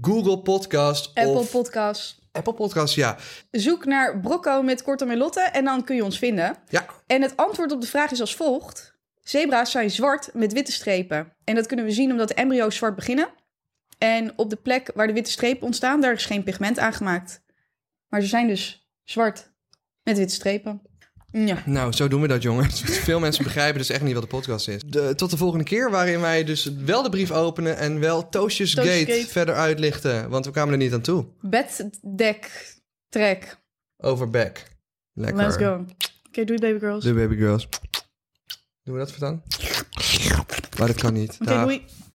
A: Google Podcast
B: Apple
A: of
B: Podcast.
A: Apple Podcast. Ja,
B: Zoek naar Brocco met Kortom en Lotte en dan kun je ons vinden.
A: ja.
B: En het antwoord op de vraag is als volgt. Zebra's zijn zwart met witte strepen. En dat kunnen we zien omdat de embryo's zwart beginnen. En op de plek waar de witte strepen ontstaan, daar is geen pigment aangemaakt. Maar ze zijn dus zwart met witte strepen. Ja.
A: Nou, zo doen we dat, jongens. [LAUGHS] Veel mensen begrijpen dus echt niet wat de podcast is. De- tot de volgende keer, waarin wij dus wel de brief openen en wel Toastjes
B: Toastjes
A: Gate
B: Gate.
A: verder uitlichten. Want we kwamen er niet aan toe.
B: Beddek, trek.
A: Over back. Lekker.
B: Let's go. Oké, doei baby girls.
A: De
B: Oké,
A: baby girls. Doen we dat voor dan? Maar dat kan niet. Dag.
B: doei.